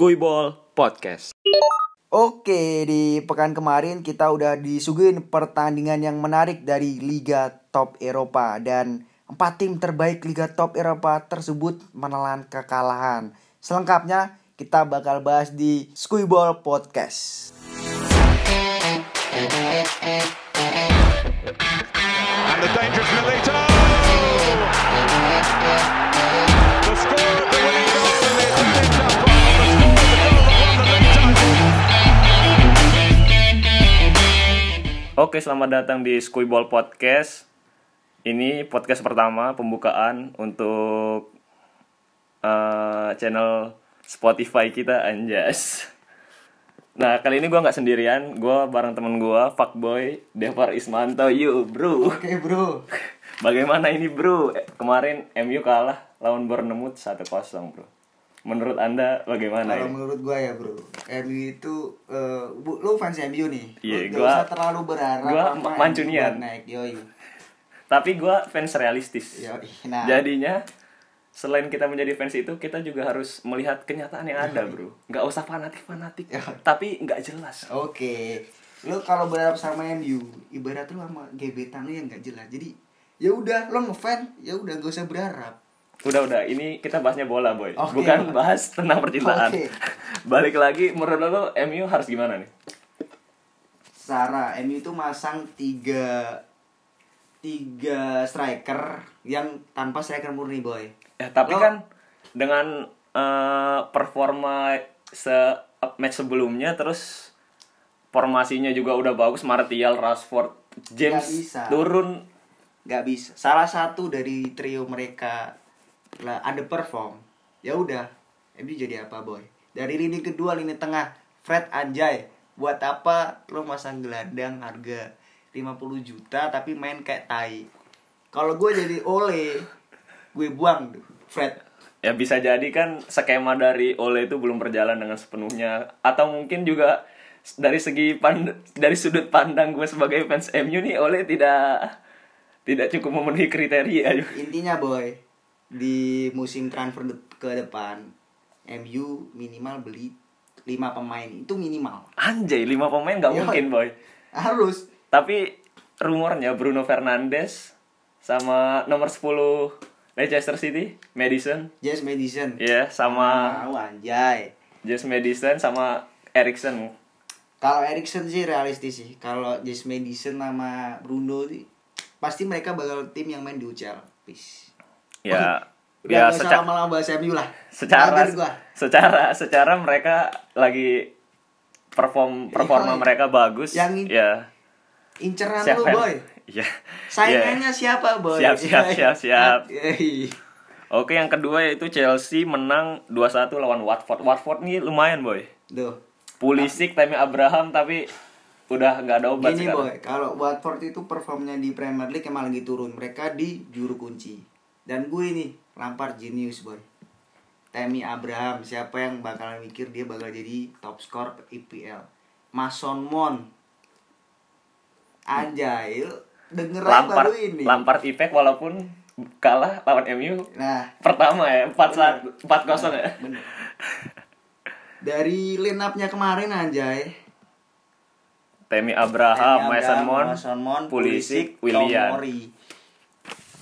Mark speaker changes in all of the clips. Speaker 1: Skuyball Podcast.
Speaker 2: Oke, di pekan kemarin kita udah disuguhin pertandingan yang menarik dari Liga Top Eropa dan empat tim terbaik Liga Top Eropa tersebut menelan kekalahan. Selengkapnya kita bakal bahas di Skuyball Podcast.
Speaker 3: And the dangerous Milito! The score of the winning goal from the Italian top five. The score of the goal that won the league title.
Speaker 1: Oke, selamat datang di Skuyball Podcast. Ini podcast pertama pembukaan untuk eh, channel Spotify kita Anjas. Nah, kali ini gua nggak sendirian, gua bareng temen gua, Fuckboy Devar Ismanto. Yo, bro.
Speaker 2: Oke, Eh, Bro.
Speaker 1: Bagaimana ini, bro? Eh, Kemarin MU kalah lawan Bournemouth 1-0, bro. Menurut Anda bagaimana?
Speaker 2: Kalau
Speaker 1: Nah, ini?
Speaker 2: menurut gua ya, Bro. MU itu eh, bu, lu fans MU nih.
Speaker 1: Iya,
Speaker 2: Lu nggak
Speaker 1: gua-
Speaker 2: usah terlalu berharap
Speaker 1: gua
Speaker 2: sama MU
Speaker 1: Mancunian.
Speaker 2: buat naik. Yoi.
Speaker 1: Tapi gua fans realistis.
Speaker 2: Yoi. Nah,
Speaker 1: Jadinya selain kita menjadi fans itu kita juga harus melihat kenyataan yang
Speaker 2: Iya.
Speaker 1: ada bro nggak usah fanatik fanatik tapi nggak jelas
Speaker 2: Oke. Lu kalau berharap sama MU, ibarat lu sama gebetan lu yang nggak jelas. Jadi ya udah lo ngefan, ya udah gak usah berharap.
Speaker 1: udah udah ini kita bahasnya bola boy
Speaker 2: Oke.
Speaker 1: bukan bahas tentang percintaan
Speaker 2: Oke.
Speaker 1: balik lagi menurut lo MU harus gimana nih
Speaker 2: Sarah, MU itu masang tiga tiga striker yang tanpa striker murni boy.
Speaker 1: ya tapi
Speaker 2: Lo-
Speaker 1: kan dengan eh, performa se eh, match sebelumnya terus formasinya juga udah bagus Martial Rashford James
Speaker 2: bisa.
Speaker 1: turun
Speaker 2: nggak bisa. Salah satu dari trio mereka lah underperform. Ya udah, MU jadi apa boy? Dari lini kedua lini tengah, Fred Anjay. Buat apa lo masang gelandang harga 50 juta tapi main kayak tai? Kalau gue jadi Ole, gue buang tuh Fred.
Speaker 1: Ya bisa jadi kan skema dari Ole itu belum berjalan dengan sepenuhnya atau mungkin juga s- dari segi pand dari sudut pandang gue sebagai fans MU nih Ole tidak tidak cukup memenuhi kriteria.
Speaker 2: Intinya boy, di musim transfer de- ke depan, MU minimal beli 5 pemain itu minimal.
Speaker 1: Anjay, 5 pemain nggak
Speaker 2: Iya.
Speaker 1: mungkin, boy.
Speaker 2: Harus
Speaker 1: Tapi rumornya Bruno Fernandes sama nomor 10 Leicester City, Madison,
Speaker 2: James Madison.
Speaker 1: ya sama
Speaker 2: Mau anjay.
Speaker 1: James Madison sama Erikson.
Speaker 2: Kalau Erikson sih realistis sih. Kalau James Madison sama Bruno sih pasti mereka bakal tim yang main di UCL. Peace.
Speaker 1: Ya,
Speaker 2: Biar
Speaker 1: ya
Speaker 2: ya,
Speaker 1: secara
Speaker 2: lama-lama bahas MU lah.
Speaker 1: secara
Speaker 2: Kaget gua.
Speaker 1: secara secara mereka lagi perform performa
Speaker 2: Iya.
Speaker 1: mereka bagus
Speaker 2: Yang-
Speaker 1: ya
Speaker 2: Inceran lu,
Speaker 1: siapa yang-
Speaker 2: boy.
Speaker 1: Iya.
Speaker 2: Saingannya siapa, boy?
Speaker 1: Siap, siap, siap, siap.
Speaker 2: Yoi.
Speaker 1: Iya. oke yang kedua yaitu Chelsea menang 2-1 lawan Watford Watford nih lumayan boy
Speaker 2: Duh.
Speaker 1: Pulisic Tammy Abraham tapi udah nggak ada obat
Speaker 2: Gini
Speaker 1: sekarang
Speaker 2: boy, kalau Watford itu performnya di Premier League emang lagi turun. Mereka di juru kunci. Dan gue ini lampar genius boy. Tammy Abraham, siapa yang bakalan mikir dia bakal jadi top skor IPL? Mason Mount. Anjay, lu denger aja
Speaker 1: Lampard
Speaker 2: baru ini.
Speaker 1: Lampard effect walaupun kalah lawan MU
Speaker 2: Nah,
Speaker 1: pertama ya 4-1 4-0 ya
Speaker 2: bener. Dari line up-nya kemarin anjay.
Speaker 1: Tammy Abraham,
Speaker 2: Tammy
Speaker 1: Mason
Speaker 2: Abraham,
Speaker 1: Mount,
Speaker 2: Mason Mount,
Speaker 1: Pulisic,
Speaker 2: Pulisic,
Speaker 1: Willian.
Speaker 2: Tomori.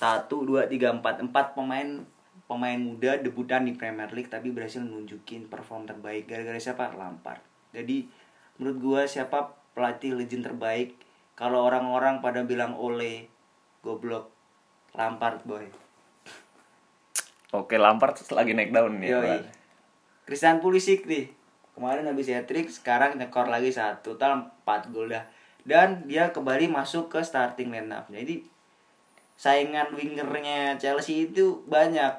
Speaker 2: Satu, dua, tiga, empat, empat pemain pemain muda debutan di Premier League tapi berhasil nunjukin perform terbaik gara-gara siapa Lampard. Jadi menurut gua siapa pelatih legend terbaik kalau orang-orang pada bilang Ole goblok Lampard boy.
Speaker 1: Oke, Lampard lagi naik daun nih.
Speaker 2: Yoi.
Speaker 1: Pak.
Speaker 2: Iya, Christian Pulisic nih. Kemarin habis hat trick, sekarang nyekor lagi satu total 4 gol dah. Dan dia kembali masuk ke starting lineup. Jadi saingan wingernya Chelsea itu banyak.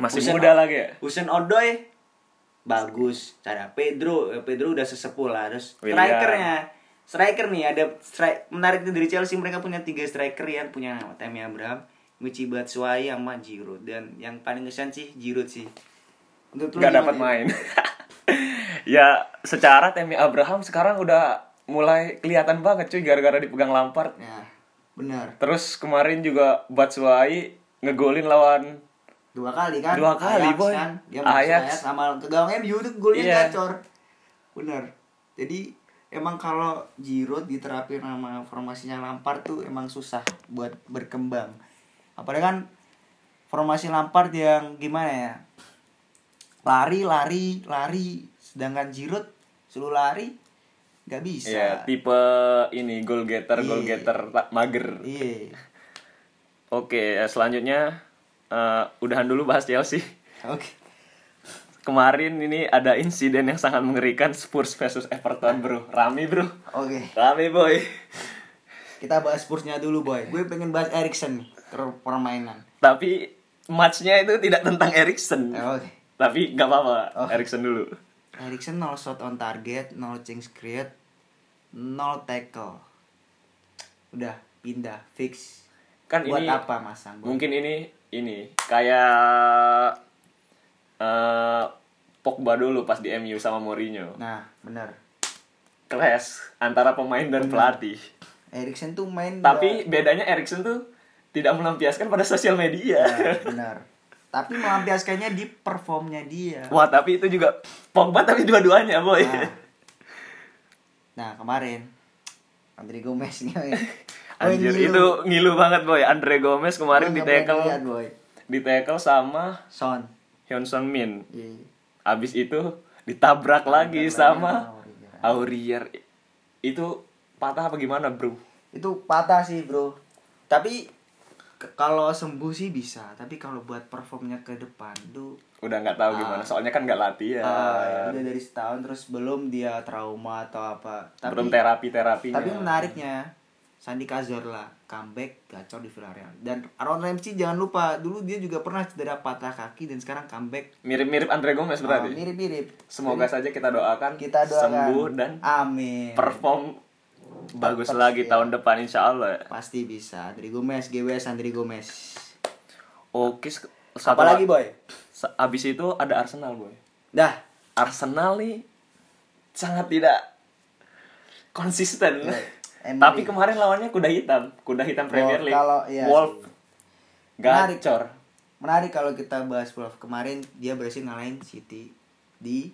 Speaker 1: Masih
Speaker 2: Usen-
Speaker 1: muda lagi ya?
Speaker 2: Usen Odoi bagus. Cara Pedro, eh, Pedro udah sesepuh lah. Terus
Speaker 1: Willian.
Speaker 2: strikernya, striker nih ada stri- menariknya dari Chelsea mereka punya tiga striker yang punya nama Tammy Abraham, Michi Batshuayi sama Giroud dan yang paling kesan sih Giroud sih. Menurut lu
Speaker 1: Nggak
Speaker 2: gimana
Speaker 1: dapat
Speaker 2: ya?
Speaker 1: main. ya, secara Tammy Abraham sekarang udah mulai kelihatan banget cuy gara-gara dipegang Lampard.
Speaker 2: Nah, benar.
Speaker 1: Terus kemarin juga Batshuayi ngegolin lawan
Speaker 2: dua kali kan
Speaker 1: Dua kali,
Speaker 2: Ajax
Speaker 1: Boy.
Speaker 2: kan dia masuk
Speaker 1: Ajax.
Speaker 2: Ajax. sama ke gawang MU tuh golnya
Speaker 1: Iya.
Speaker 2: gacor bener jadi emang kalau Giroud diterapin sama formasinya Lampard tuh emang susah buat berkembang apalagi kan formasi Lampard yang gimana ya lari lari lari sedangkan Giroud suruh lari nggak bisa
Speaker 1: Iya, tipe ini goal getter, goal
Speaker 2: Iya.
Speaker 1: getter tak mager.
Speaker 2: iya
Speaker 1: Oke, eh, selanjutnya eh, udahan dulu bahas Chelsea.
Speaker 2: oke
Speaker 1: Kemarin ini ada insiden yang sangat mengerikan Spurs versus Everton, Bro. Rami, Bro.
Speaker 2: oke
Speaker 1: Rami, boy.
Speaker 2: kita bahas Spursnya dulu boy gue pengen bahas Erikson nih ter- permainan
Speaker 1: Tapi matchnya itu tidak tentang Erikson.
Speaker 2: Eh, oke
Speaker 1: Tapi nggak apa-apa,
Speaker 2: Oh.
Speaker 1: Erikson dulu.
Speaker 2: Erikson 0 shot on target 0 chance create 0 tackle udah pindah fix
Speaker 1: Kan
Speaker 2: buat
Speaker 1: ini
Speaker 2: apa masang boy?
Speaker 1: mungkin ini ini kayak eh Pogba dulu pas di MU sama Mourinho.
Speaker 2: nah bener
Speaker 1: Clash antara pemain dan pelatih.
Speaker 2: Erikson tuh main
Speaker 1: Tapi bedanya Erikson tuh tidak melampiaskan pada sosial media.
Speaker 2: benar Nah, tapi melampiaskannya di performnya dia
Speaker 1: Wah, tapi itu juga Pogba tapi dua-duanya, boy.
Speaker 2: Iya. Nah. nah kemarin Andre Gomez nih boy. Boy,
Speaker 1: Anjir,
Speaker 2: ngilu.
Speaker 1: itu ngilu banget, boy. Andre Gomez kemarin
Speaker 2: Boy,
Speaker 1: di
Speaker 2: nggak pernah dilihat,
Speaker 1: tackle
Speaker 2: boy
Speaker 1: di tackle sama
Speaker 2: Son
Speaker 1: Hyun Sung Min.
Speaker 2: Iya.
Speaker 1: Abis itu ditabrak lagi sama Aurier.
Speaker 2: Aurier.
Speaker 1: Itu patah apa gimana, Bro?
Speaker 2: itu patah sih bro tapi ke- kalau sembuh sih bisa tapi kalau buat performnya ke depan tuh
Speaker 1: Udah nggak tahu gimana, soalnya kan nggak latihan.
Speaker 2: ah, udah dari setahun terus belum dia trauma atau apa tapi
Speaker 1: Belum terapi-terapinya.
Speaker 2: tapi menariknya Sandi Cazorla comeback gacor di Villarreal dan Aaron Ramsey jangan lupa dulu dia juga pernah cedera patah kaki dan sekarang comeback
Speaker 1: Mirip-mirip Andre Gomez
Speaker 2: ah,
Speaker 1: berarti.
Speaker 2: mirip-mirip
Speaker 1: Semoga saja kita doakan
Speaker 2: kita doakan
Speaker 1: sembuh dan
Speaker 2: amin
Speaker 1: perform bagus
Speaker 2: Tetap,
Speaker 1: lagi
Speaker 2: iya.
Speaker 1: tahun depan insya Allah. ya.
Speaker 2: pasti bisa Andri Gomez GWS Andri Gomez
Speaker 1: Oke, se- satu
Speaker 2: apalagi
Speaker 1: la-
Speaker 2: boy
Speaker 1: se- Abis itu ada Arsenal boy.
Speaker 2: dah
Speaker 1: Arsenal nih sangat tidak konsisten.
Speaker 2: Iya, Emery.
Speaker 1: Tapi kemarin lawannya kuda hitam, kuda hitam Premier
Speaker 2: Wolf,
Speaker 1: League.
Speaker 2: kalau- iya
Speaker 1: Wolf,
Speaker 2: sih. Menarik.
Speaker 1: gacor.
Speaker 2: menarik kalau kita bahas Wolf kemarin dia berhasil ngalahin City di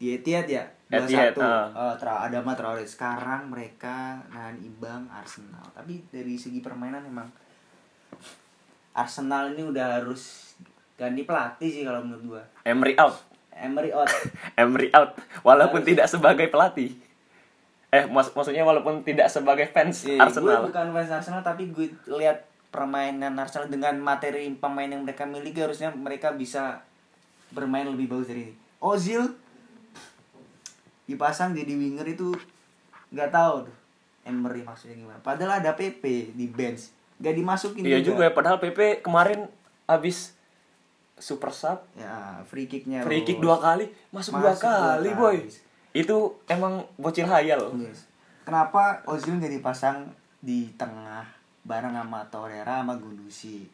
Speaker 2: di Etihad ya dua
Speaker 1: Etihad,
Speaker 2: satu Oh,
Speaker 1: ah.
Speaker 2: ada Mat Traore sekarang mereka nahan imbang Arsenal tapi dari segi permainan emang Arsenal ini udah harus ganti pelatih sih kalau menurut gua
Speaker 1: Emery out,
Speaker 2: Emery out
Speaker 1: Emery out. Walaupun tidak sebagai pelatih. Eh, mak- maksudnya walaupun tidak sebagai fans
Speaker 2: Eh,
Speaker 1: Arsenal.
Speaker 2: gue bukan fans Arsenal tapi gue lihat permainan Arsenal dengan materi pemain yang mereka miliki harusnya mereka bisa bermain lebih bagus dari ini. Ozil dipasang jadi winger itu nggak tahu tuh Emery maksudnya gimana. Padahal ada PP di bench nggak dimasukin
Speaker 1: Iya juga ya, padahal PP kemarin abis super sub
Speaker 2: Ya, free kicknya.
Speaker 1: free kick
Speaker 2: Ros.
Speaker 1: dua kali, masuk, dua
Speaker 2: Masuk dua
Speaker 1: kali,
Speaker 2: kali.
Speaker 1: boy. Itu emang bocil hayal.
Speaker 2: Yes. Kenapa Ozil nggak dipasang di tengah bareng sama Torreira sama Gundusi?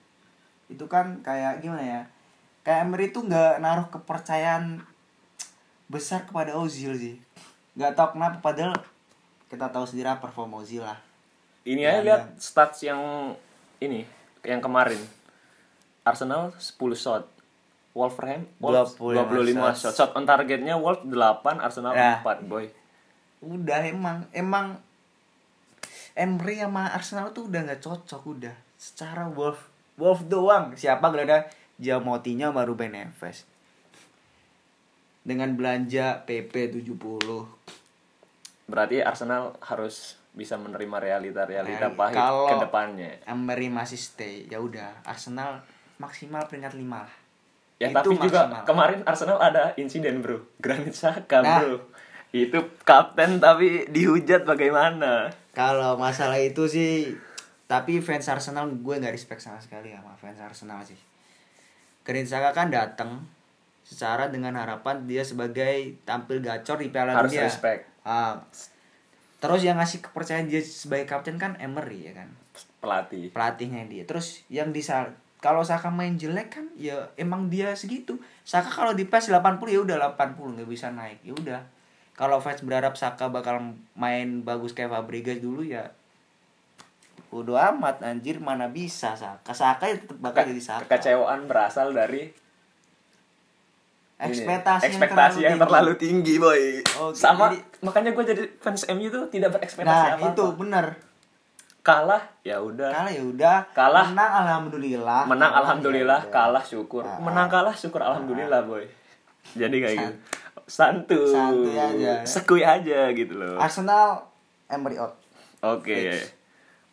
Speaker 2: Itu kan kayak gimana ya? Kayak Emery tuh nggak naruh kepercayaan besar kepada Ozil sih. Nggak tahu kenapa padahal kita tahu sendiri lah perform Ozil lah.
Speaker 1: Ini aja
Speaker 2: Ya,
Speaker 1: lihat stats yang ini yang kemarin. Arsenal 10 shot. Wolverham Wolves 25
Speaker 2: 25
Speaker 1: shot.
Speaker 2: shots.
Speaker 1: Shot on targetnya Wolves 8, Arsenal
Speaker 2: Ya.
Speaker 1: 4, boy.
Speaker 2: Udah emang emang Emery sama Arsenal tuh udah nggak cocok udah. Secara Wolf Wolf doang. Siapa gak ada Giamottinya sama Ruben Neves. Dengan belanja PP 70
Speaker 1: Berarti Arsenal harus bisa menerima realita-realita
Speaker 2: Reali-
Speaker 1: pahit
Speaker 2: Ya, kalau-
Speaker 1: ke depannya.
Speaker 2: Emery masih stay. Ya udah, Arsenal maksimal peringkat 5 lah.
Speaker 1: Ya
Speaker 2: Itu
Speaker 1: tapi juga
Speaker 2: maksimal.
Speaker 1: kemarin Arsenal ada insiden bro Granit Saka
Speaker 2: Nah.
Speaker 1: bro Itu kapten tapi dihujat bagaimana
Speaker 2: Kalau masalah itu sih tapi fans Arsenal gue nggak respect sama sekali sama fans Arsenal sih. Granit Saka kan datang secara dengan harapan dia sebagai tampil gacor di Piala
Speaker 1: Harus
Speaker 2: Dunia.
Speaker 1: respect.
Speaker 2: Ah. terus yang ngasih kepercayaan dia sebagai kapten kan Emery ya kan
Speaker 1: Pelatih
Speaker 2: pelatihnya dia. Terus yang disal kalau Saka main jelek kan ya emang dia segitu. Saka kalau di PES 80 ya udah 80 nggak bisa naik. Ya udah. Kalau fans berharap Saka bakal main bagus kayak Fabregas dulu ya Bodo amat anjir mana bisa Saka. Saka ya tetap bakal jadi Saka.
Speaker 1: Kekecewaan berasal dari ini,
Speaker 2: Ekspektasi, yang
Speaker 1: ekspektasi yang, terlalu tinggi, boy.
Speaker 2: Oke,
Speaker 1: Sama
Speaker 2: gitu. jadi-
Speaker 1: makanya gue jadi fans MU tuh tidak
Speaker 2: tinggi.
Speaker 1: berekspektasi
Speaker 2: Nah,
Speaker 1: apa-apa.
Speaker 2: itu bener.
Speaker 1: Kalah ya udah.
Speaker 2: Kalah ya udah.
Speaker 1: Kalah.
Speaker 2: Menang alhamdulillah.
Speaker 1: Menang
Speaker 2: Kalah,
Speaker 1: alhamdulillah,
Speaker 2: ya udah.
Speaker 1: kalah syukur.
Speaker 2: Ah.
Speaker 1: Menang kalah syukur alhamdulillah, boy. Jadi kayak gitu. Santuy.
Speaker 2: Santuy aja. Ah.
Speaker 1: Sekuy aja gitu loh.
Speaker 2: Arsenal Emery out.
Speaker 1: Oke.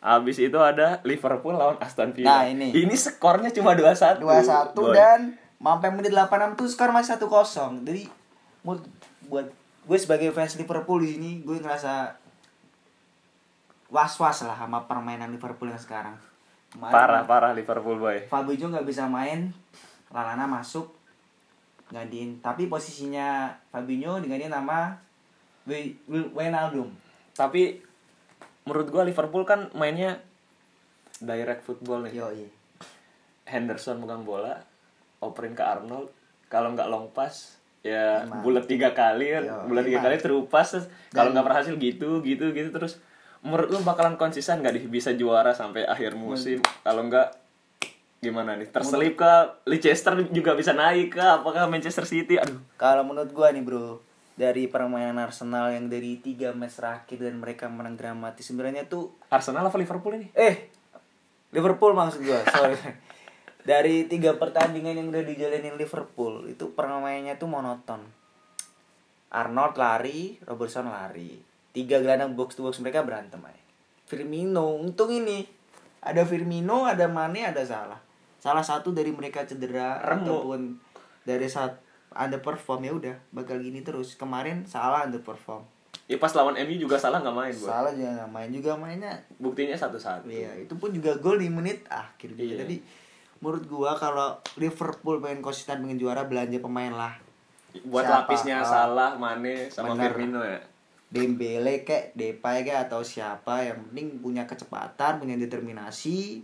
Speaker 1: Abis itu ada Liverpool lawan Aston
Speaker 2: Nah,
Speaker 1: Villa.
Speaker 2: ini.
Speaker 1: Ini skornya cuma 2-1.
Speaker 2: 2-1
Speaker 1: Boy.
Speaker 2: dan sampai menit 86 tuh skor masih 1-0. Jadi buat, buat gue sebagai fans Liverpool di sini gue ngerasa was-was lah sama permainan Liverpool yang sekarang. Kemarin
Speaker 1: parah parah Liverpool, boy.
Speaker 2: Fabinho nggak bisa main, Lalana masuk gantiin. Tapi posisinya Fabinho digantiin sama Wi- Wi- Wijnaldum.
Speaker 1: Tapi menurut gua Liverpool kan mainnya direct football nih.
Speaker 2: Yoi.
Speaker 1: Henderson megang bola, operin ke Arnold. Kalau nggak long pass, ya bulat tiga kali, kan.
Speaker 2: Yo,
Speaker 1: bulat tiga
Speaker 2: emang.
Speaker 1: kali terupas. terus Kalau nggak berhasil gitu, gitu, gitu terus. Menurut lu bakalan konsisten nggak nih bisa juara sampai akhir musim? Kalau nggak gimana nih? Terselip ke Leicester juga bisa naik ke? Apakah Manchester City? Aduh,
Speaker 2: Kalau menurut gua nih bro dari permainan Arsenal yang dari tiga match terakhir dan mereka menang dramatis sebenarnya tuh
Speaker 1: Arsenal apa Liverpool ini?
Speaker 2: eh Liverpool maksud gua sorry dari tiga pertandingan yang udah dijalanin Liverpool itu permainannya tuh monoton Arnold lari Robertson lari tiga gelandang box to box mereka berantem aja Firmino untung ini ada Firmino ada Mane ada Salah salah satu dari mereka cedera
Speaker 1: Remuk.
Speaker 2: ataupun dari saat underperform ya udah bakal gini terus kemarin Salah underperform
Speaker 1: Ya pas lawan MU juga salah nggak main gua.
Speaker 2: Salah juga nggak main juga mainnya
Speaker 1: Buktinya satu-satu.
Speaker 2: Iya, itu pun juga gol di menit akhir juga.
Speaker 1: Iya.
Speaker 2: Tapi menurut gua kalau Liverpool pengen konsisten pengen juara belanja pemain lah.
Speaker 1: Buat
Speaker 2: Siapa?
Speaker 1: lapisnya
Speaker 2: Oh.
Speaker 1: salah Mane sama
Speaker 2: Bener.
Speaker 1: Firmino ya.
Speaker 2: Dembele kek, Depay kek atau siapa yang penting punya kecepatan, punya determinasi.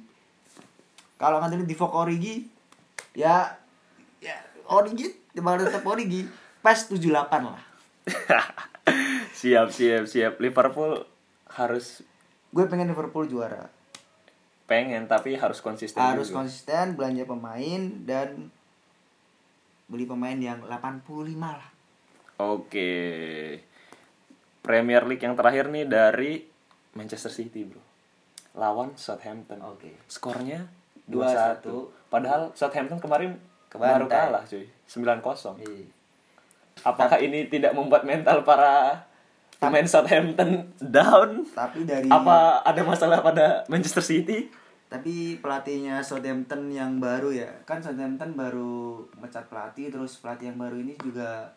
Speaker 2: Kalau ngandelin di Origi ya ya Origi bakal tetap Origi. Pas 78 lah.
Speaker 1: siap siap siap Liverpool harus
Speaker 2: Gue pengen Liverpool juara.
Speaker 1: pengen tapi harus konsisten
Speaker 2: Harus
Speaker 1: juga.
Speaker 2: konsisten belanja pemain dan beli pemain yang 85 lah.
Speaker 1: oke Premier League yang terakhir nih dari Manchester City bro lawan Southampton
Speaker 2: Oke.
Speaker 1: skornya 2-1
Speaker 2: 2-1.
Speaker 1: padahal Southampton kemarin
Speaker 2: Kebantai.
Speaker 1: baru kalah cuy 9-0
Speaker 2: Iya.
Speaker 1: apakah ini tidak membuat mental para pemain Southampton down
Speaker 2: Tapi dari
Speaker 1: apa ada masalah pada Manchester City
Speaker 2: tapi pelatihnya Southampton yang baru ya kan Southampton baru mecat pelatih terus pelatih yang baru ini juga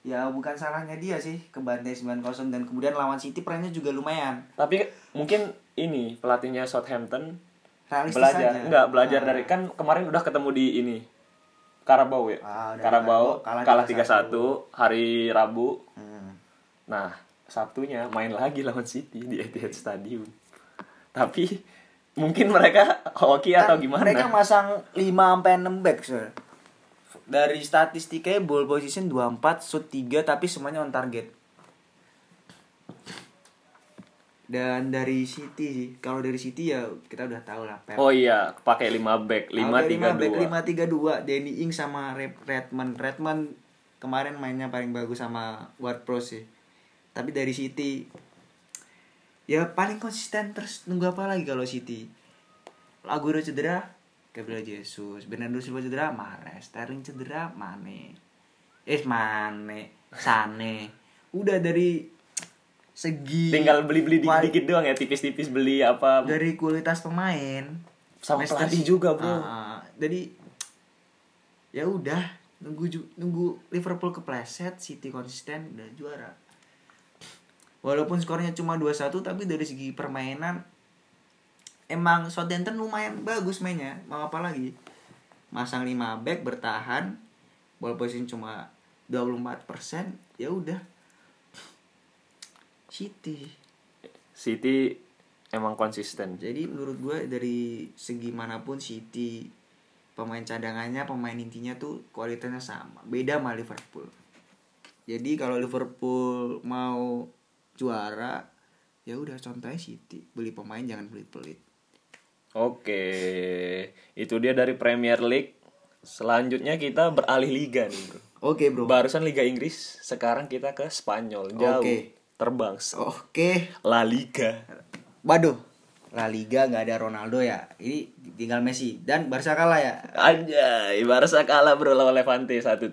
Speaker 2: ya bukan salahnya dia sih ke bantai 9-0 dan kemudian lawan City perannya juga lumayan
Speaker 1: tapi mungkin ini pelatihnya Southampton
Speaker 2: realistis
Speaker 1: belajar
Speaker 2: aja.
Speaker 1: enggak belajar
Speaker 2: Ah.
Speaker 1: dari kan kemarin udah ketemu di ini Karabau ya
Speaker 2: Ah, udah
Speaker 1: Karabau kalah
Speaker 2: Karabau, kalah
Speaker 1: 3-1 hari Rabu
Speaker 2: Hmm.
Speaker 1: nah Sabtunya main lagi lawan City di Etihad Stadium tapi mungkin mereka hoki atau
Speaker 2: Kan
Speaker 1: gimana
Speaker 2: mereka masang 5 sampai 6 back Sir. dari statistiknya ball position 24 shoot 3 tapi semuanya on target dan dari City sih kalau dari City ya kita udah tahu lah Pep
Speaker 1: oh iya pakai 5 back 5
Speaker 2: back
Speaker 1: 3 2
Speaker 2: 532 Danny Ing sama Red- Redmond Redmond kemarin mainnya paling bagus sama Ward Prowse sih tapi dari City ya paling konsisten terus nunggu apa lagi kalau City Aguero cedera Gabriel Jesus Bernardo Silva cedera Mahrez Sterling cedera Mane eh Mane Sane udah dari segi
Speaker 1: tinggal beli-beli
Speaker 2: kuali-
Speaker 1: dikit-dikit doang ya tipis-tipis beli apa
Speaker 2: dari kualitas pemain
Speaker 1: Ehm, Sama
Speaker 2: Manchester
Speaker 1: pelatih
Speaker 2: City-
Speaker 1: juga, bro.
Speaker 2: Ah, ah. jadi ya udah nunggu ju- nunggu Liverpool kepleset City konsisten udah juara walaupun skornya cuma 2-1 tapi dari segi permainan emang Southampton lumayan bagus mainnya mau apa lagi masang 5 back bertahan ball position cuma 24% ya udah City
Speaker 1: City emang konsisten
Speaker 2: jadi menurut gue dari segi manapun City pemain cadangannya, pemain intinya tuh kualitasnya sama. Beda sama Liverpool. Jadi kalau Liverpool mau juara ya udah contohnya City beli pemain jangan pelit-pelit
Speaker 1: Oke, itu dia dari Premier League. Selanjutnya kita beralih liga nih, Bro.
Speaker 2: oke bro oke
Speaker 1: Barusan Liga Inggris, sekarang kita ke Spanyol. Jauh.
Speaker 2: Oke.
Speaker 1: Terbang. La Liga.
Speaker 2: waduh La Liga nggak ada Ronaldo ya ini tinggal Messi dan Barca kalah ya
Speaker 1: Anjay, Barca kalah bro lawan Levante 1-3.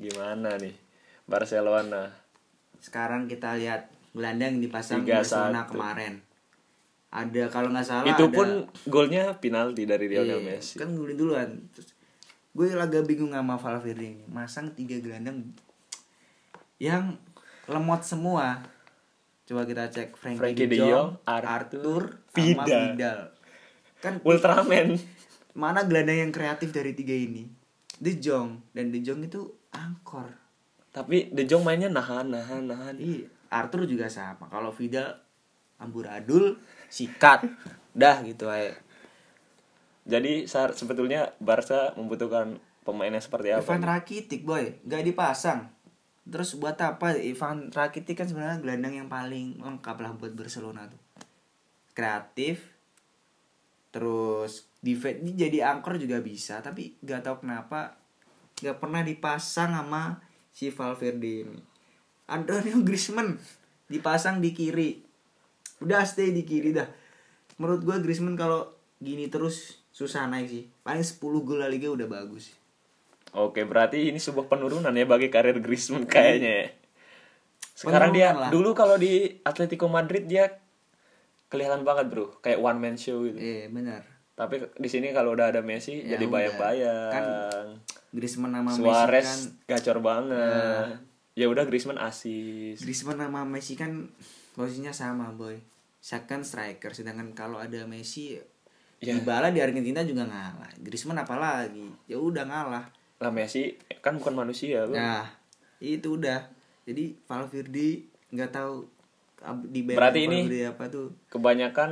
Speaker 1: Gimana nih? Barcelona.
Speaker 2: sekarang kita lihat gelandang yang
Speaker 1: 3-1.
Speaker 2: dipasang Barcelona kemarin ada kalau nggak salah
Speaker 1: itu
Speaker 2: ada-
Speaker 1: pun golnya penalti dari Lionel
Speaker 2: Iya,
Speaker 1: Messi.
Speaker 2: kan gue duluan terus gue agak bingung sama Valverde ini masang tiga gelandang yang lemot semua coba kita cek Frankie,
Speaker 1: Frankie de Jong, Arthur, Vidal.
Speaker 2: sama Vidal. kan
Speaker 1: Ultraman.
Speaker 2: mana gelandang yang kreatif dari tiga ini De Jong dan De Jong itu angkor
Speaker 1: Tapi De Jong mainnya nahan, nahan, nahan.
Speaker 2: Iya, Arthur juga sama kalau Vidal amburadul sikat dah gitu aja
Speaker 1: Jadi sar- sebetulnya Barca membutuhkan pemainnya seperti apa?
Speaker 2: Ivan Rakitic boy nggak dipasang terus buat apa Ivan Rakitic kan sebenarnya gelandang yang paling lengkap lah buat Barcelona tuh kreatif terus defense ini jadi angker juga bisa tapi nggak tahu kenapa nggak pernah dipasang sama si Valverde ini Antonio Griezmann dipasang di kiri udah stay di kiri dah menurut gue Griezmann kalau gini terus susah naik sih paling 10 gol La Liga udah bagus
Speaker 1: Oke, berarti ini sebuah penurunan ya bagi karir Griezmann kayaknya. ya. Sekarang dia
Speaker 2: Penurunan lah.
Speaker 1: dulu kalau di Atletico Madrid dia kelihatan banget, Bro. Kayak one man show gitu.
Speaker 2: Iya benar.
Speaker 1: Tapi di sini kalau udah ada Messi
Speaker 2: Ya
Speaker 1: jadi
Speaker 2: udah.
Speaker 1: bayang-bayang.
Speaker 2: Kan Griezmann nama
Speaker 1: Suarez
Speaker 2: Messi kan Nah.
Speaker 1: gacor banget. Ya udah Griezmann asis.
Speaker 2: Griezmann nama Messi kan posisinya sama, boy. Second striker sedangkan kalau ada Messi
Speaker 1: Ya.
Speaker 2: Dybala di Argentina juga ngalah. Griezmann apalagi? Ya udah ngalah.
Speaker 1: Lah Messi kan bukan manusia, Bro.
Speaker 2: Nah, itu udah. Jadi Valverde nggak tahu ab- di bayar
Speaker 1: Berarti ini-
Speaker 2: Valverde apa tuh.
Speaker 1: Kebanyakan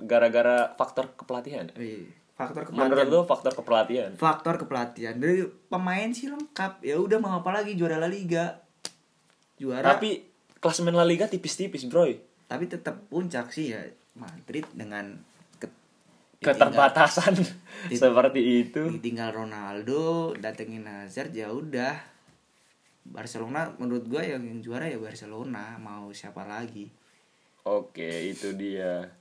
Speaker 1: gara-gara faktor kepelatihan.
Speaker 2: Eh, Faktor
Speaker 1: Menurut
Speaker 2: kepelatihan.
Speaker 1: lu faktor kepelatihan?
Speaker 2: Faktor kepelatihan. Dari pemain sih lengkap. Ya udah mau apa lagi juara La Liga. Juara
Speaker 1: Tapi klasemen La Liga tipis-tipis, Bro.
Speaker 2: tapi tetap puncak sih ya Madrid dengan ke-
Speaker 1: keterbatasan seperti itu.
Speaker 2: ditinggal Ronaldo datengin Hazard ya udah Barcelona menurut gua yang, yang juara ya Barcelona mau siapa lagi
Speaker 1: Oke, itu dia.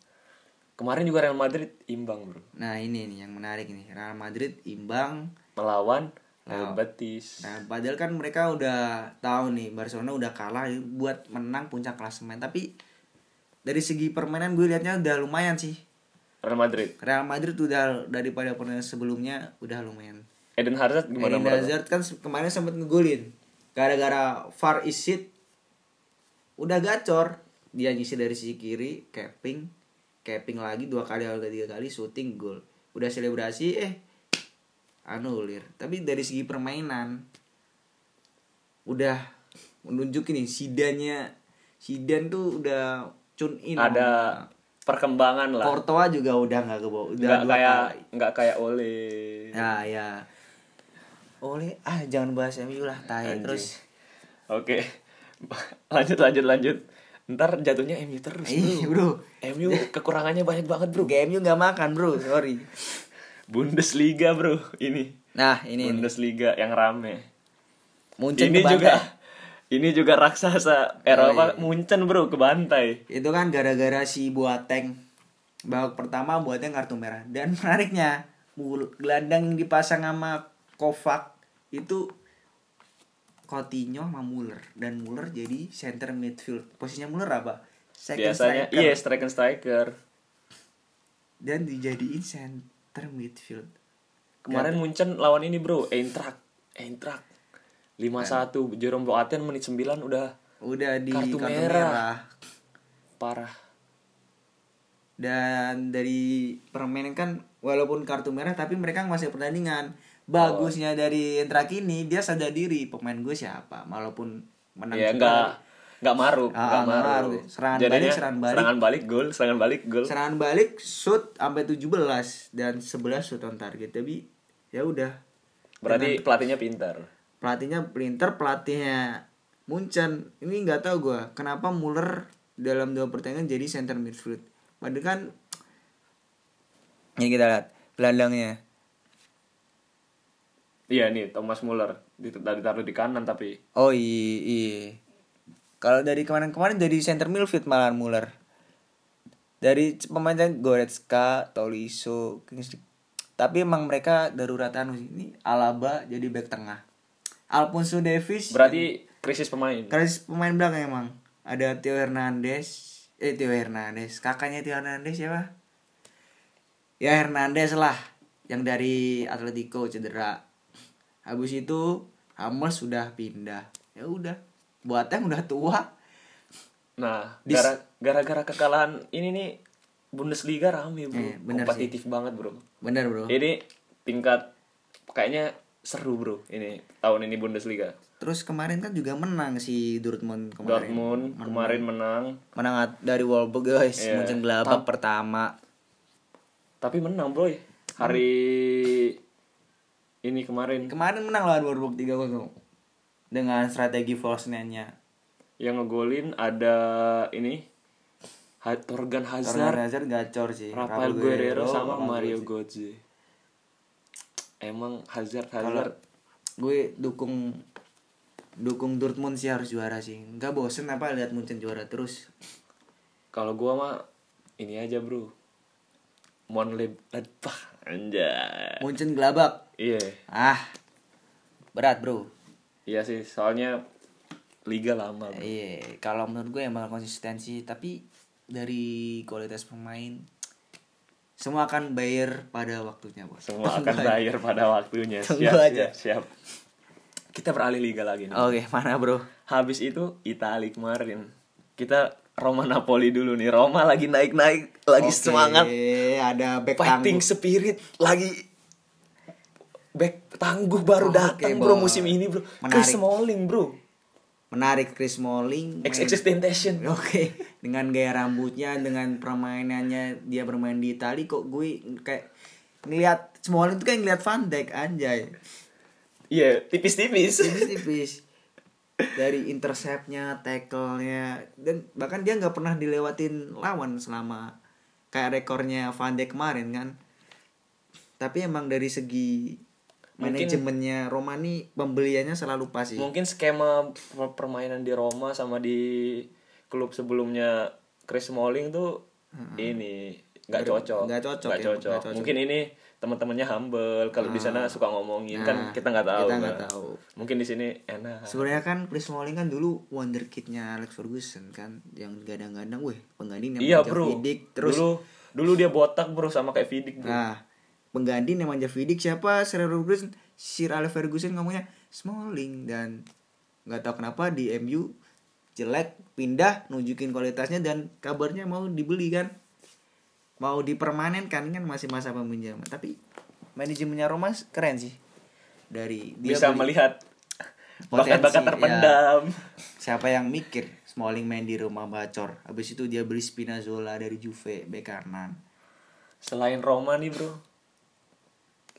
Speaker 1: Kemarin juga Real Madrid imbang, Bro.
Speaker 2: nah ini nih yang menarik nih Real Madrid imbang
Speaker 1: Melawan Real
Speaker 2: Lawan.
Speaker 1: Betis.
Speaker 2: nah padahal kan mereka udah tahu nih Barcelona udah kalah buat menang puncak klasemen tapi dari segi permainan gue liatnya udah lumayan sih
Speaker 1: Real Madrid.
Speaker 2: Real Madrid udah daripada permainan sebelumnya udah lumayan
Speaker 1: Eden Hazard gimana
Speaker 2: Eden
Speaker 1: menurut lo?
Speaker 2: Hazard kan se- kemarin sempat ngegolin gara-gara VAR isit udah gacor dia ngisi dari sisi kiri capping capping lagi dua kali atau tiga kali syuting gol udah selebrasi eh anulir tapi dari segi permainan udah menunjukin nih sidannya sidan tuh udah tune in
Speaker 1: Ada perkembangan lah.
Speaker 2: Courtois juga udah nggak kebawa udah
Speaker 1: Nggak
Speaker 2: dua
Speaker 1: kayak
Speaker 2: kali.
Speaker 1: nggak kayak Ole. Iya,
Speaker 2: Ya ya. Oleh ah jangan bahas MU lah tai
Speaker 1: Anjing.
Speaker 2: terus.
Speaker 1: Oke. lanjut lanjut lanjut. Ntar jatuhnya MU terus,
Speaker 2: Ih,
Speaker 1: Bro.
Speaker 2: Eh,
Speaker 1: MU
Speaker 2: bro.
Speaker 1: kekurangannya banyak banget, Bro.
Speaker 2: Game MU nggak makan, bro. Sorry.
Speaker 1: Bundesliga, Bro. Ini.
Speaker 2: Nah, ini nih.
Speaker 1: Bundesliga yang rame.
Speaker 2: Munchen
Speaker 1: ini
Speaker 2: ke
Speaker 1: juga
Speaker 2: Bantai.
Speaker 1: ini juga raksasa Eropa
Speaker 2: iya.
Speaker 1: Munchen bro ke bantai.
Speaker 2: Itu kan gara-gara si Boateng. Babak pertama Boateng kartu merah dan menariknya bul- gelandang yang dipasang sama Kovac itu Coutinho sama Muller dan Muller jadi center midfield. Posisinya Muller apa? Second
Speaker 1: Biasanya
Speaker 2: striker.
Speaker 1: iya striker striker.
Speaker 2: Dan dijadiin center midfield.
Speaker 1: Kemarin
Speaker 2: Kan.
Speaker 1: Munchen lawan ini bro Eintracht Eintracht 5-1
Speaker 2: Kan.
Speaker 1: Jerome Boateng menit 9 udah
Speaker 2: Udah di
Speaker 1: Kartu
Speaker 2: kartu,
Speaker 1: merah.
Speaker 2: merah.
Speaker 1: parah.
Speaker 2: dan dari permainan kan walaupun kartu merah tapi mereka masih pertandingan bagusnya dari Eintracht ini dia sadar diri pemain gue siapa walaupun menang
Speaker 1: Ya
Speaker 2: juga,
Speaker 1: enggak enggak maruk,
Speaker 2: Ah,
Speaker 1: enggak
Speaker 2: nggak
Speaker 1: maruk.
Speaker 2: maruk. Serangan
Speaker 1: Jadinya
Speaker 2: balik, serangan balik.
Speaker 1: Serangan balik gol, serangan balik gol.
Speaker 2: serangan balik shoot sampai 17 dan 11 shoot on target tapi ya udah
Speaker 1: Berarti pelatihnya pintar.
Speaker 2: pelatihnya Printer pelatihnya Munchen ini nggak tahu gua kenapa Muller dalam dua pertandingan jadi center midfield. Padahal kan ya
Speaker 4: Ini kita lihat gelandangnya.
Speaker 1: Iya nih Thomas Muller Dit- ditaruh di kanan tapi
Speaker 4: Oh iya. iya. Kalau dari kemarin-kemarin jadi center midfield malah Muller. Dari c- pemain yang Goretzka, Tolisso, Kingsley. Tapi emang mereka daruratan sih. Ini Alaba jadi back tengah. Alfonso Davis.
Speaker 1: berarti krisis pemain.
Speaker 2: krisis pemain belakang emang. Ada Theo Hernandez, eh Theo Hernandez, kakaknya Theo Hernandez siapa? Ya Hernandez lah, yang dari Atletico cedera. Habis itu Hammers sudah pindah. Ya udah, buatan udah tua.
Speaker 1: Nah, gara- gara-gara kekalahan ini nih Bundesliga rame, Bro.
Speaker 2: Eh, bener
Speaker 1: Kompetitif banget, Bro.
Speaker 2: Bener bro.
Speaker 1: Ini tingkat kayaknya seru, Bro. Ini tahun ini Bundesliga.
Speaker 2: Terus kemarin kan juga menang si Dortmund kemarin.
Speaker 1: Dortmund kemarin menang,
Speaker 4: Menang at- dari Wolfsburg guys.
Speaker 1: Iya.
Speaker 4: Munchen gelabak pertama.
Speaker 1: tapi menang, Bro. ya. Hari ini kemarin
Speaker 2: Kemarin menang lawan Wolfsburg 3-0 dengan strategi false nine-nya.
Speaker 1: yang ngegolin ada ini Ha- Torgan
Speaker 2: Torgan
Speaker 1: Hazard,
Speaker 2: Hazard gacor sih.
Speaker 1: Rafael Guerrero sama Mario Götze. Emang Hazard Hazard
Speaker 2: gue dukung dukung Dortmund sih harus juara sih nggak bosen apa lihat Munchen juara terus
Speaker 1: Kalau gua mah ini aja bro. Mon Ledbach anjay.
Speaker 2: Munchen gelabak
Speaker 1: Iya,
Speaker 2: ah berat bro
Speaker 1: iya sih. Soalnya liga lama. Bro.
Speaker 2: iya kalau menurut gue emang konsistensi tapi dari kualitas pemain semua akan bayar pada waktunya bos
Speaker 1: Semua akan bayar pada waktunya. Siap,
Speaker 4: Tunggu
Speaker 1: siap,
Speaker 4: aja.
Speaker 1: siap. Kita beralih liga lagi nih.
Speaker 4: Oke, mana bro?
Speaker 1: Habis itu Itali kemarin. Kita Roma Napoli dulu nih. Roma lagi naik-naik, lagi
Speaker 2: Oke,
Speaker 1: semangat,
Speaker 2: ada back
Speaker 1: fighting
Speaker 2: tangguh.
Speaker 1: spirit lagi back tangguh baru
Speaker 2: Oke,
Speaker 1: datang bro
Speaker 2: Bos.
Speaker 1: musim ini bro. Chris
Speaker 2: Menarik.
Speaker 1: Smalling bro.
Speaker 2: menarik Chris Smalling main-
Speaker 1: XXX Temptation.
Speaker 2: Oke, dengan gaya rambutnya, dengan permainannya dia bermain di Itali kok gue kayak ngelihat Smalling tuh kayak ngelihat Van Dijk anjay.
Speaker 1: Iya, tipis-tipis.
Speaker 2: Tipis-tipis. Dari interceptnya, tackle-nya dan bahkan dia nggak pernah dilewatin lawan selama kayak rekornya Van Dijk kemarin kan. Tapi emang dari segi
Speaker 1: Mungkin-
Speaker 2: manajemennya Roma nih pembeliannya selalu pas sih.
Speaker 1: Mungkin skema per- permainan di Roma sama di klub sebelumnya Chris Smalling tuh ini nggak
Speaker 2: Ber-
Speaker 1: cocok.
Speaker 2: nggak cocok
Speaker 1: Nggak
Speaker 2: ya,
Speaker 1: cocok.
Speaker 2: nggak cocok. Ah.
Speaker 1: Mungkin ini teman-temannya humble kalau di sana suka ngomongin kan
Speaker 2: Nah,
Speaker 1: kita nggak tahu.
Speaker 2: kita nggak
Speaker 1: kan.
Speaker 2: tahu.
Speaker 1: Mungkin di sini enak.
Speaker 2: Sebenarnya kan Chris Smalling kan dulu wonderkidnya Alex Ferguson kan yang gadang-gadang weh penggandin yang
Speaker 1: iya,
Speaker 2: manja
Speaker 1: Bro.
Speaker 2: Vidic terus
Speaker 1: dulu dulu dia botak, Bro, sama kayak Vidic, Bro.
Speaker 2: nah pengganti yang manja Vidic siapa Sir Alex Ferguson Sir Alex Ferguson ngomongnya Smalling dan nggak tahu kenapa di MU jelek pindah nunjukin kualitasnya dan kabarnya mau dibeli kan mau dipermanenkan kan masih masa peminjaman tapi manajemennya Roma keren sih dari dia
Speaker 1: Bisa
Speaker 2: beli-
Speaker 1: melihat
Speaker 2: Potensi,
Speaker 1: bakat-bakat
Speaker 2: ya.
Speaker 1: terpendam.
Speaker 2: siapa yang mikir Smalling main di rumah bacor habis itu dia beli Spinazzola dari Juve bek kanan
Speaker 1: Selain Roma nih bro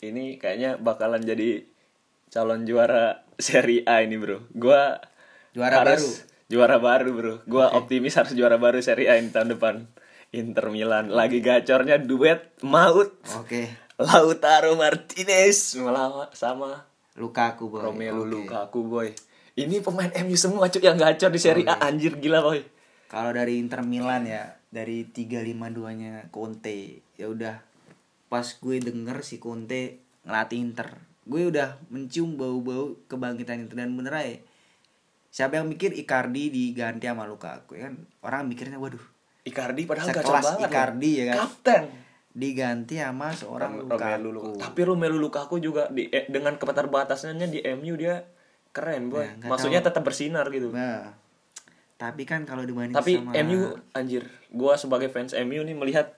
Speaker 1: Ini kayaknya bakalan jadi calon juara Serie A ini bro Gua
Speaker 2: Juara
Speaker 1: harus juara baru bro Gua optimis harus juara baru Serie A ini tahun depan Inter Milan lagi gacornya duet maut
Speaker 2: oke
Speaker 1: Lautaro Martinez melawan sama
Speaker 2: Lukaku boy
Speaker 1: Romelu
Speaker 2: Oke.
Speaker 1: Lukaku boy Ini pemain MU semua cuk yang gacor di Serie A anjir gila boy
Speaker 2: kalau dari Inter Milan ya dari 352 nya Conte ya udah pas gue denger si Conte ngelatih Inter gue udah mencium bau-bau kebangkitan Inter dan bener aja siapa yang mikir Icardi diganti sama Lukaku ya kan orang mikirnya waduh
Speaker 1: Icardi padahal gacor
Speaker 2: sekelas
Speaker 1: banget loh.
Speaker 2: Icardi ya kan
Speaker 1: Kapten
Speaker 2: diganti sama seorang
Speaker 1: Romelu Lukaku.
Speaker 2: Lukaku.
Speaker 1: Tapi Romelu Lukaku juga di eh, dengan keterbatasannya di MU dia keren boy.
Speaker 2: Ya, nggak
Speaker 1: Maksudnya
Speaker 2: tahu.
Speaker 1: tetap bersinar gitu.
Speaker 2: Nah, tapi kan kalau dibanding
Speaker 1: Tapi
Speaker 2: sama
Speaker 1: MU anjir, gua sebagai fans MU nih melihat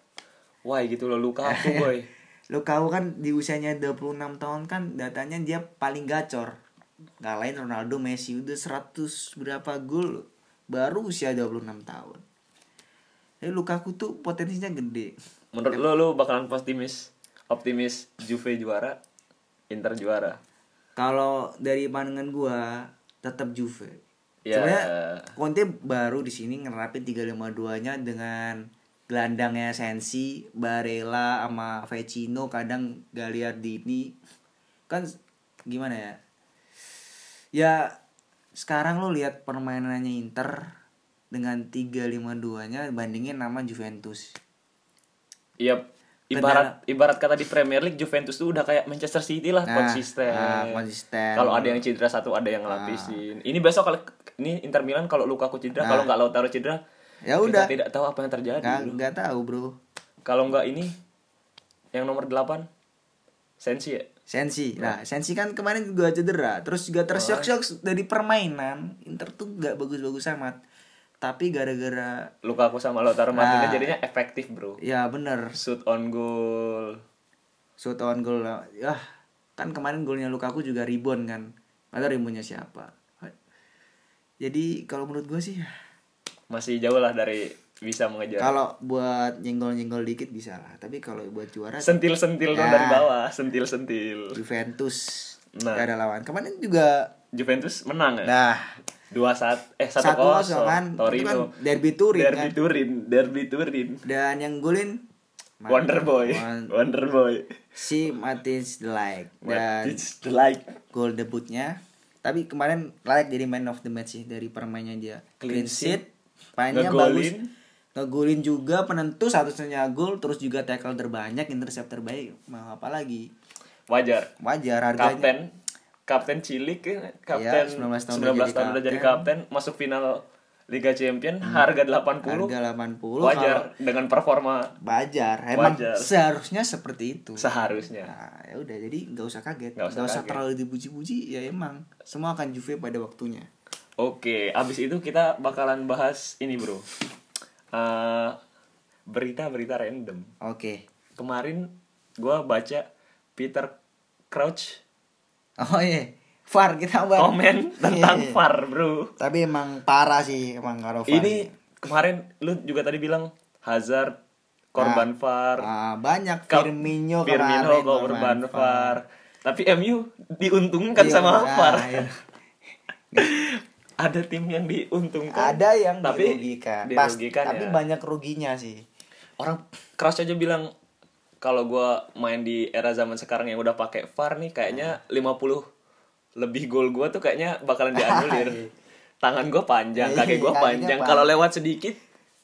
Speaker 1: wah gitu loh Lukaku boy.
Speaker 2: Lukaku kan di usianya 26 tahun kan datanya dia paling gacor. Ngalahin Ronaldo, Messi udah 100 berapa gol baru usia 26 tahun. Jadi Lukaku tuh potensinya gede.
Speaker 1: Menurut lo lo bakalan optimis optimis Juve juara, Inter juara.
Speaker 2: Kalau dari pandangan gua tetap Juve.
Speaker 1: Ya.
Speaker 2: Sebenarnya Conte baru di sini ngerapin 352-nya dengan gelandangnya Sensi, Barella sama Vecino, kadang Gagliardini. Kan s- gimana ya? Ya sekarang lo lihat permainannya Inter dengan 352-nya bandingin nama Juventus.
Speaker 1: Iya. Ibarat ibarat kata di Premier League Juventus tuh udah kayak Manchester City lah
Speaker 2: Nah,
Speaker 1: konsisten.
Speaker 2: nah, konsisten. Ah.
Speaker 1: Kalau ada yang cedera satu ada yang ngelapisin. Ini besok kalau ini Inter Milan kalau Lukaku cedera,
Speaker 2: Nah.
Speaker 1: kalau nggak Lautaro cedera,
Speaker 2: Ya
Speaker 1: kita
Speaker 2: udah, Kan?
Speaker 1: tidak tahu apa yang terjadi.
Speaker 2: nggak
Speaker 1: bro.
Speaker 2: nggak tahu bro.
Speaker 1: Kalau nggak ini yang nomor 8 Sensi ya.
Speaker 2: Sensi, nah Sensi kan kemarin juga cedera, terus juga tersyok-syok dari permainan Inter tuh gak bagus-bagus amat, tapi gara-gara
Speaker 1: Lukaku sama Lautaro Martinez
Speaker 2: Nah.
Speaker 1: jadinya efektif, Bro.
Speaker 2: ya bener
Speaker 1: Shoot on goal.
Speaker 2: shoot on goal, lah. yah kan kemarin golnya Lukaku juga rebound kan, nggak tahu reboundnya siapa. Jadi kalau menurut gue sih,
Speaker 1: Iya. Masih jauh lah dari bisa mengejar.
Speaker 2: kalau buat nyenggol-nyenggol dikit bisa lah, tapi kalau buat juara
Speaker 1: Sentil-sentil dong
Speaker 2: Ya.
Speaker 1: dari bawah, sentil-sentil.
Speaker 2: Juventus
Speaker 1: Nah.
Speaker 2: gak ada lawan. Kemarin juga,
Speaker 1: Juventus menang ya?
Speaker 2: nah
Speaker 1: dua saat eh satu,
Speaker 2: satu
Speaker 1: kosong
Speaker 2: kosong kan, itu kan
Speaker 1: Torino
Speaker 2: derby Turin
Speaker 1: derby
Speaker 2: kan.
Speaker 1: Turin derby Turin
Speaker 2: Dan yang golin
Speaker 1: Wonder Boy
Speaker 2: Wan-
Speaker 1: Wonder Boy
Speaker 2: si Martins Delaik
Speaker 1: What
Speaker 2: dan
Speaker 1: is the like
Speaker 2: gol debutnya. Tapi kemarin Delaik jadi man of the match sih dari permainnya dia.
Speaker 1: Clean
Speaker 2: Clean
Speaker 1: sheet,
Speaker 2: sheet, mainnya
Speaker 1: ngegolin.
Speaker 2: bagus. Ngegolin juga penentu satu-satunya gol terus juga tackle terbanyak, intercept terbaik, mau apa lagi?
Speaker 1: wajar
Speaker 2: Wajar harganya.
Speaker 1: kapten kapten cilik eh, kapten
Speaker 2: 19 tahun
Speaker 1: 19
Speaker 2: udah jadi
Speaker 1: tahun udah jadi kapten masuk final Liga Champion harga 80
Speaker 2: Hmm. Harga 80
Speaker 1: wajar
Speaker 2: kalau-
Speaker 1: dengan performa
Speaker 2: Wajar, emang
Speaker 1: Wajar.
Speaker 2: seharusnya seperti itu.
Speaker 1: seharusnya
Speaker 2: Nah, ya udah jadi nggak usah kaget,
Speaker 1: Nggak
Speaker 2: nggak
Speaker 1: usah
Speaker 2: usah,
Speaker 1: kaget.
Speaker 2: terlalu dipuji-puji, ya emang semua akan Juve pada waktunya.
Speaker 1: Oke, abis itu kita bakalan bahas ini bro Eh, Berita-berita random
Speaker 2: Oke.
Speaker 1: kemarin gue baca Peter Crouch
Speaker 2: Oh iya, VAR kita bahas.
Speaker 1: komen tentang
Speaker 2: Iya.
Speaker 1: VAR bro.
Speaker 2: Tapi emang parah sih emang kalau VAR. iya.
Speaker 1: Ini kemarin lu juga tadi bilang Hazard korban VAR,
Speaker 2: Ah, banyak
Speaker 1: Ka-
Speaker 2: Firmino kemarin
Speaker 1: Firmino korban VAR. Tapi MU diuntungkan
Speaker 2: Iya,
Speaker 1: Kan sama
Speaker 2: nah,
Speaker 1: VAR.
Speaker 2: iya.
Speaker 1: Ada tim yang diuntungkan.
Speaker 2: Ada yang
Speaker 1: tapi
Speaker 2: dirugikan. Pas-
Speaker 1: dirugikan ya.
Speaker 2: tapi banyak ruginya sih.
Speaker 1: orang Crouch aja bilang kalau gua main di era zaman sekarang yang udah pakai VAR nih kayaknya
Speaker 2: Ah.
Speaker 1: 50 lebih gol gua tuh kayaknya bakalan dianulir. Tangan gua panjang,
Speaker 2: Iya,
Speaker 1: kaki gua
Speaker 2: kakinya
Speaker 1: panjang.
Speaker 2: panjang.
Speaker 1: Kalau lewat sedikit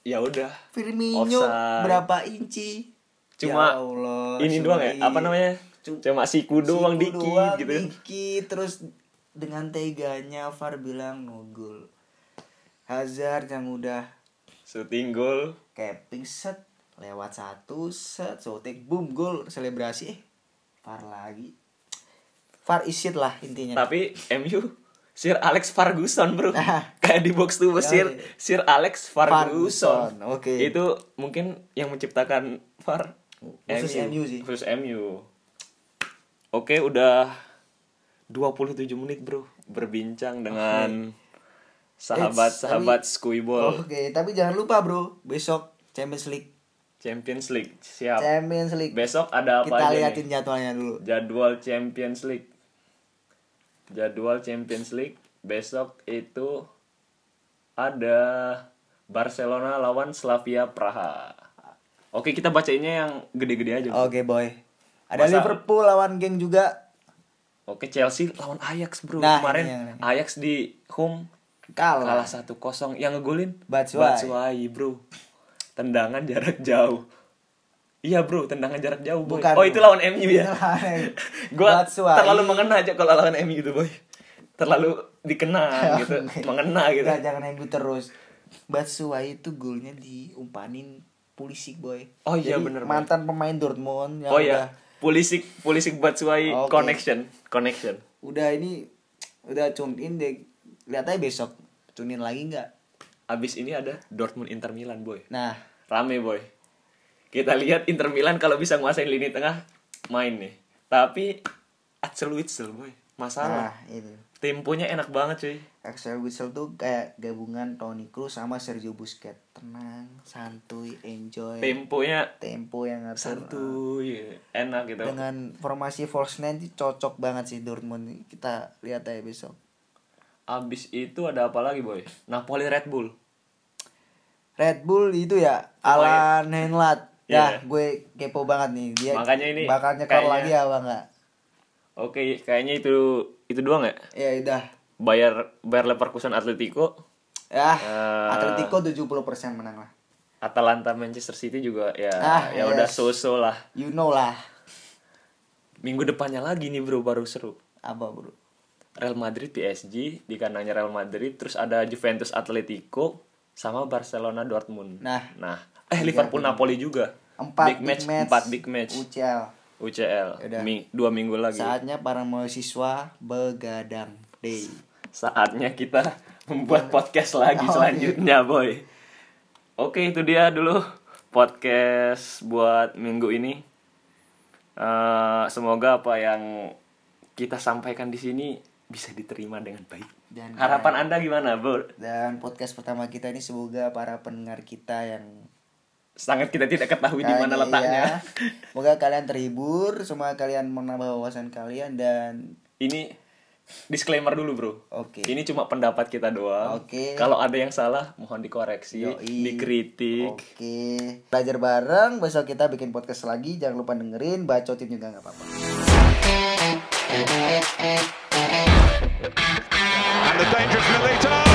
Speaker 1: ya udah.
Speaker 2: Firmino
Speaker 1: Offside.
Speaker 2: berapa inci?
Speaker 1: Cuma
Speaker 2: Ya Allah,
Speaker 1: ini
Speaker 2: cuma
Speaker 1: doang ya,
Speaker 2: i-
Speaker 1: apa namanya? Cuma siku doang
Speaker 2: siku
Speaker 1: dikit
Speaker 2: doang,
Speaker 1: gitu.
Speaker 2: dikit, terus dengan teganya VAR bilang nugul. Hazard yang udah
Speaker 1: Shooting goal.
Speaker 2: capping set lewat satu set sotek boom gol selebrasi eh far lagi far isit lah intinya
Speaker 1: Tapi MU Sir Alex Ferguson bro
Speaker 2: Nah.
Speaker 1: Kayak di box to box Sir,
Speaker 2: Yoi.
Speaker 1: Sir Alex Ferguson,
Speaker 2: ya, Ferguson, oke.
Speaker 1: Itu mungkin yang menciptakan VAR
Speaker 2: Khusus MU sih.
Speaker 1: Khusus MU Oke udah 27 menit bro Berbincang dengan Sahabat-sahabat Skuibol
Speaker 2: oke tapi jangan lupa bro besok Champions League
Speaker 1: Champions League Siap
Speaker 2: Champions League
Speaker 1: Besok ada apa
Speaker 2: kita
Speaker 1: aja
Speaker 2: liatin
Speaker 1: nih?
Speaker 2: jadwalnya dulu
Speaker 1: Jadwal Champions League Jadwal Champions League Besok itu Ada Barcelona lawan Slavia Praha Oke kita bacainnya yang gede-gede aja bro.
Speaker 2: oke boy ada
Speaker 1: Masa-
Speaker 2: Liverpool lawan geng juga
Speaker 1: Oke Chelsea lawan Ajax bro
Speaker 2: Nah,
Speaker 1: Kemarin
Speaker 2: ini yang-
Speaker 1: Ajax di home
Speaker 2: kalah,
Speaker 1: Kalah 1-0 Yang ngegolin
Speaker 2: Batshuayi.
Speaker 1: bro Tendangan jarak jauh Iya bro, tendangan jarak jauh boy.
Speaker 2: Bukan,
Speaker 1: oh itu
Speaker 2: bro. Iya,
Speaker 1: lawan MU ya.
Speaker 2: Eh,
Speaker 1: gue
Speaker 2: Batshuayi.
Speaker 1: terlalu mengena aja kalau lawan MU itu boy terlalu
Speaker 2: Ya,
Speaker 1: dikena gitu mengena gitu
Speaker 2: Nggak, jangan MU terus Batshuayi itu golnya diumpanin Pulisic boy
Speaker 1: Oh iya,
Speaker 2: Jadi,
Speaker 1: bener, boy.
Speaker 2: mantan pemain Dortmund yang
Speaker 1: oh ya
Speaker 2: udah
Speaker 1: Pulisic Pulisic Batshuayi
Speaker 2: Oke.
Speaker 1: connection connection
Speaker 2: udah ini udah tune in deh lihat aja besok tune in lagi nggak
Speaker 1: abis ini ada Dortmund Inter Milan boy
Speaker 2: nah
Speaker 1: rame boy kita lihat Inter Milan kalau bisa nguasain lini tengah main nih tapi Axel Witsel boy
Speaker 2: nah Hmm.
Speaker 1: masalah
Speaker 2: itu
Speaker 1: temponya enak banget cuy
Speaker 2: Axel Witsel tuh kayak gabungan Toni Kroos sama Sergio Busquets tenang santuy enjoy
Speaker 1: temponya
Speaker 2: tempo yang ngatur
Speaker 1: santuy enak gitu
Speaker 2: dengan formasi false nine tuh cocok banget sih Dortmund kita lihat aja besok
Speaker 1: Abis itu ada apa lagi boy? Napoli Red Bull.
Speaker 2: Red Bull itu ya Alan Henlat.
Speaker 1: Oh, Iya.
Speaker 2: Ya, gue kepo banget nih dia.
Speaker 1: Makanya ini
Speaker 2: bakal nyekor
Speaker 1: kayaknya-
Speaker 2: lagi apa enggak?
Speaker 1: Oke, kayaknya itu itu doang ya.
Speaker 2: Ya udah.
Speaker 1: Bayar Bayer Leverkusen Atletico,
Speaker 2: Ya,
Speaker 1: Eh.
Speaker 2: Atletico 70% menang lah.
Speaker 1: Atalanta Manchester City juga ya
Speaker 2: Ah,
Speaker 1: ya
Speaker 2: yes.
Speaker 1: udah so-so lah.
Speaker 2: You know lah.
Speaker 1: Minggu depannya lagi nih bro baru seru.
Speaker 2: Apa, Bro?
Speaker 1: Real Madrid PSG di kanannya Real Madrid terus ada Juventus Atletico sama Barcelona Dortmund.
Speaker 2: Nah.
Speaker 1: nah eh Liverpool Napoli juga.
Speaker 2: Empat
Speaker 1: big match, empat big match.
Speaker 2: UCL.
Speaker 1: UCL
Speaker 2: Yaudah.
Speaker 1: Mi- dua minggu lagi.
Speaker 2: Saatnya para mahasiswa begadang day.
Speaker 1: Saatnya kita membuat podcast lagi
Speaker 2: Oh, iya.
Speaker 1: selanjutnya, boy. Oke, itu dia dulu podcast buat minggu ini. Eh, semoga apa yang kita sampaikan di sini bisa diterima dengan baik.
Speaker 2: Dan-
Speaker 1: Harapan Anda gimana, Bro?
Speaker 2: Dan podcast pertama kita ini semoga para pendengar kita yang
Speaker 1: sangat kita tidak ketahui di mana
Speaker 2: Kalian-
Speaker 1: letaknya.
Speaker 2: iya. Semoga kalian terhibur, semoga kalian menambah wawasan kalian dan
Speaker 1: Ini disclaimer dulu, Bro.
Speaker 2: Oke.
Speaker 1: Ini cuma pendapat kita doang.
Speaker 2: Oke.
Speaker 1: Kalau ada yang salah mohon dikoreksi,
Speaker 2: Yoi.
Speaker 1: dikritik.
Speaker 2: Oke. Belajar bareng, besok kita bikin podcast lagi. Jangan lupa dengerin, bacotin juga nggak apa-apa.
Speaker 5: And the dangerous Milito.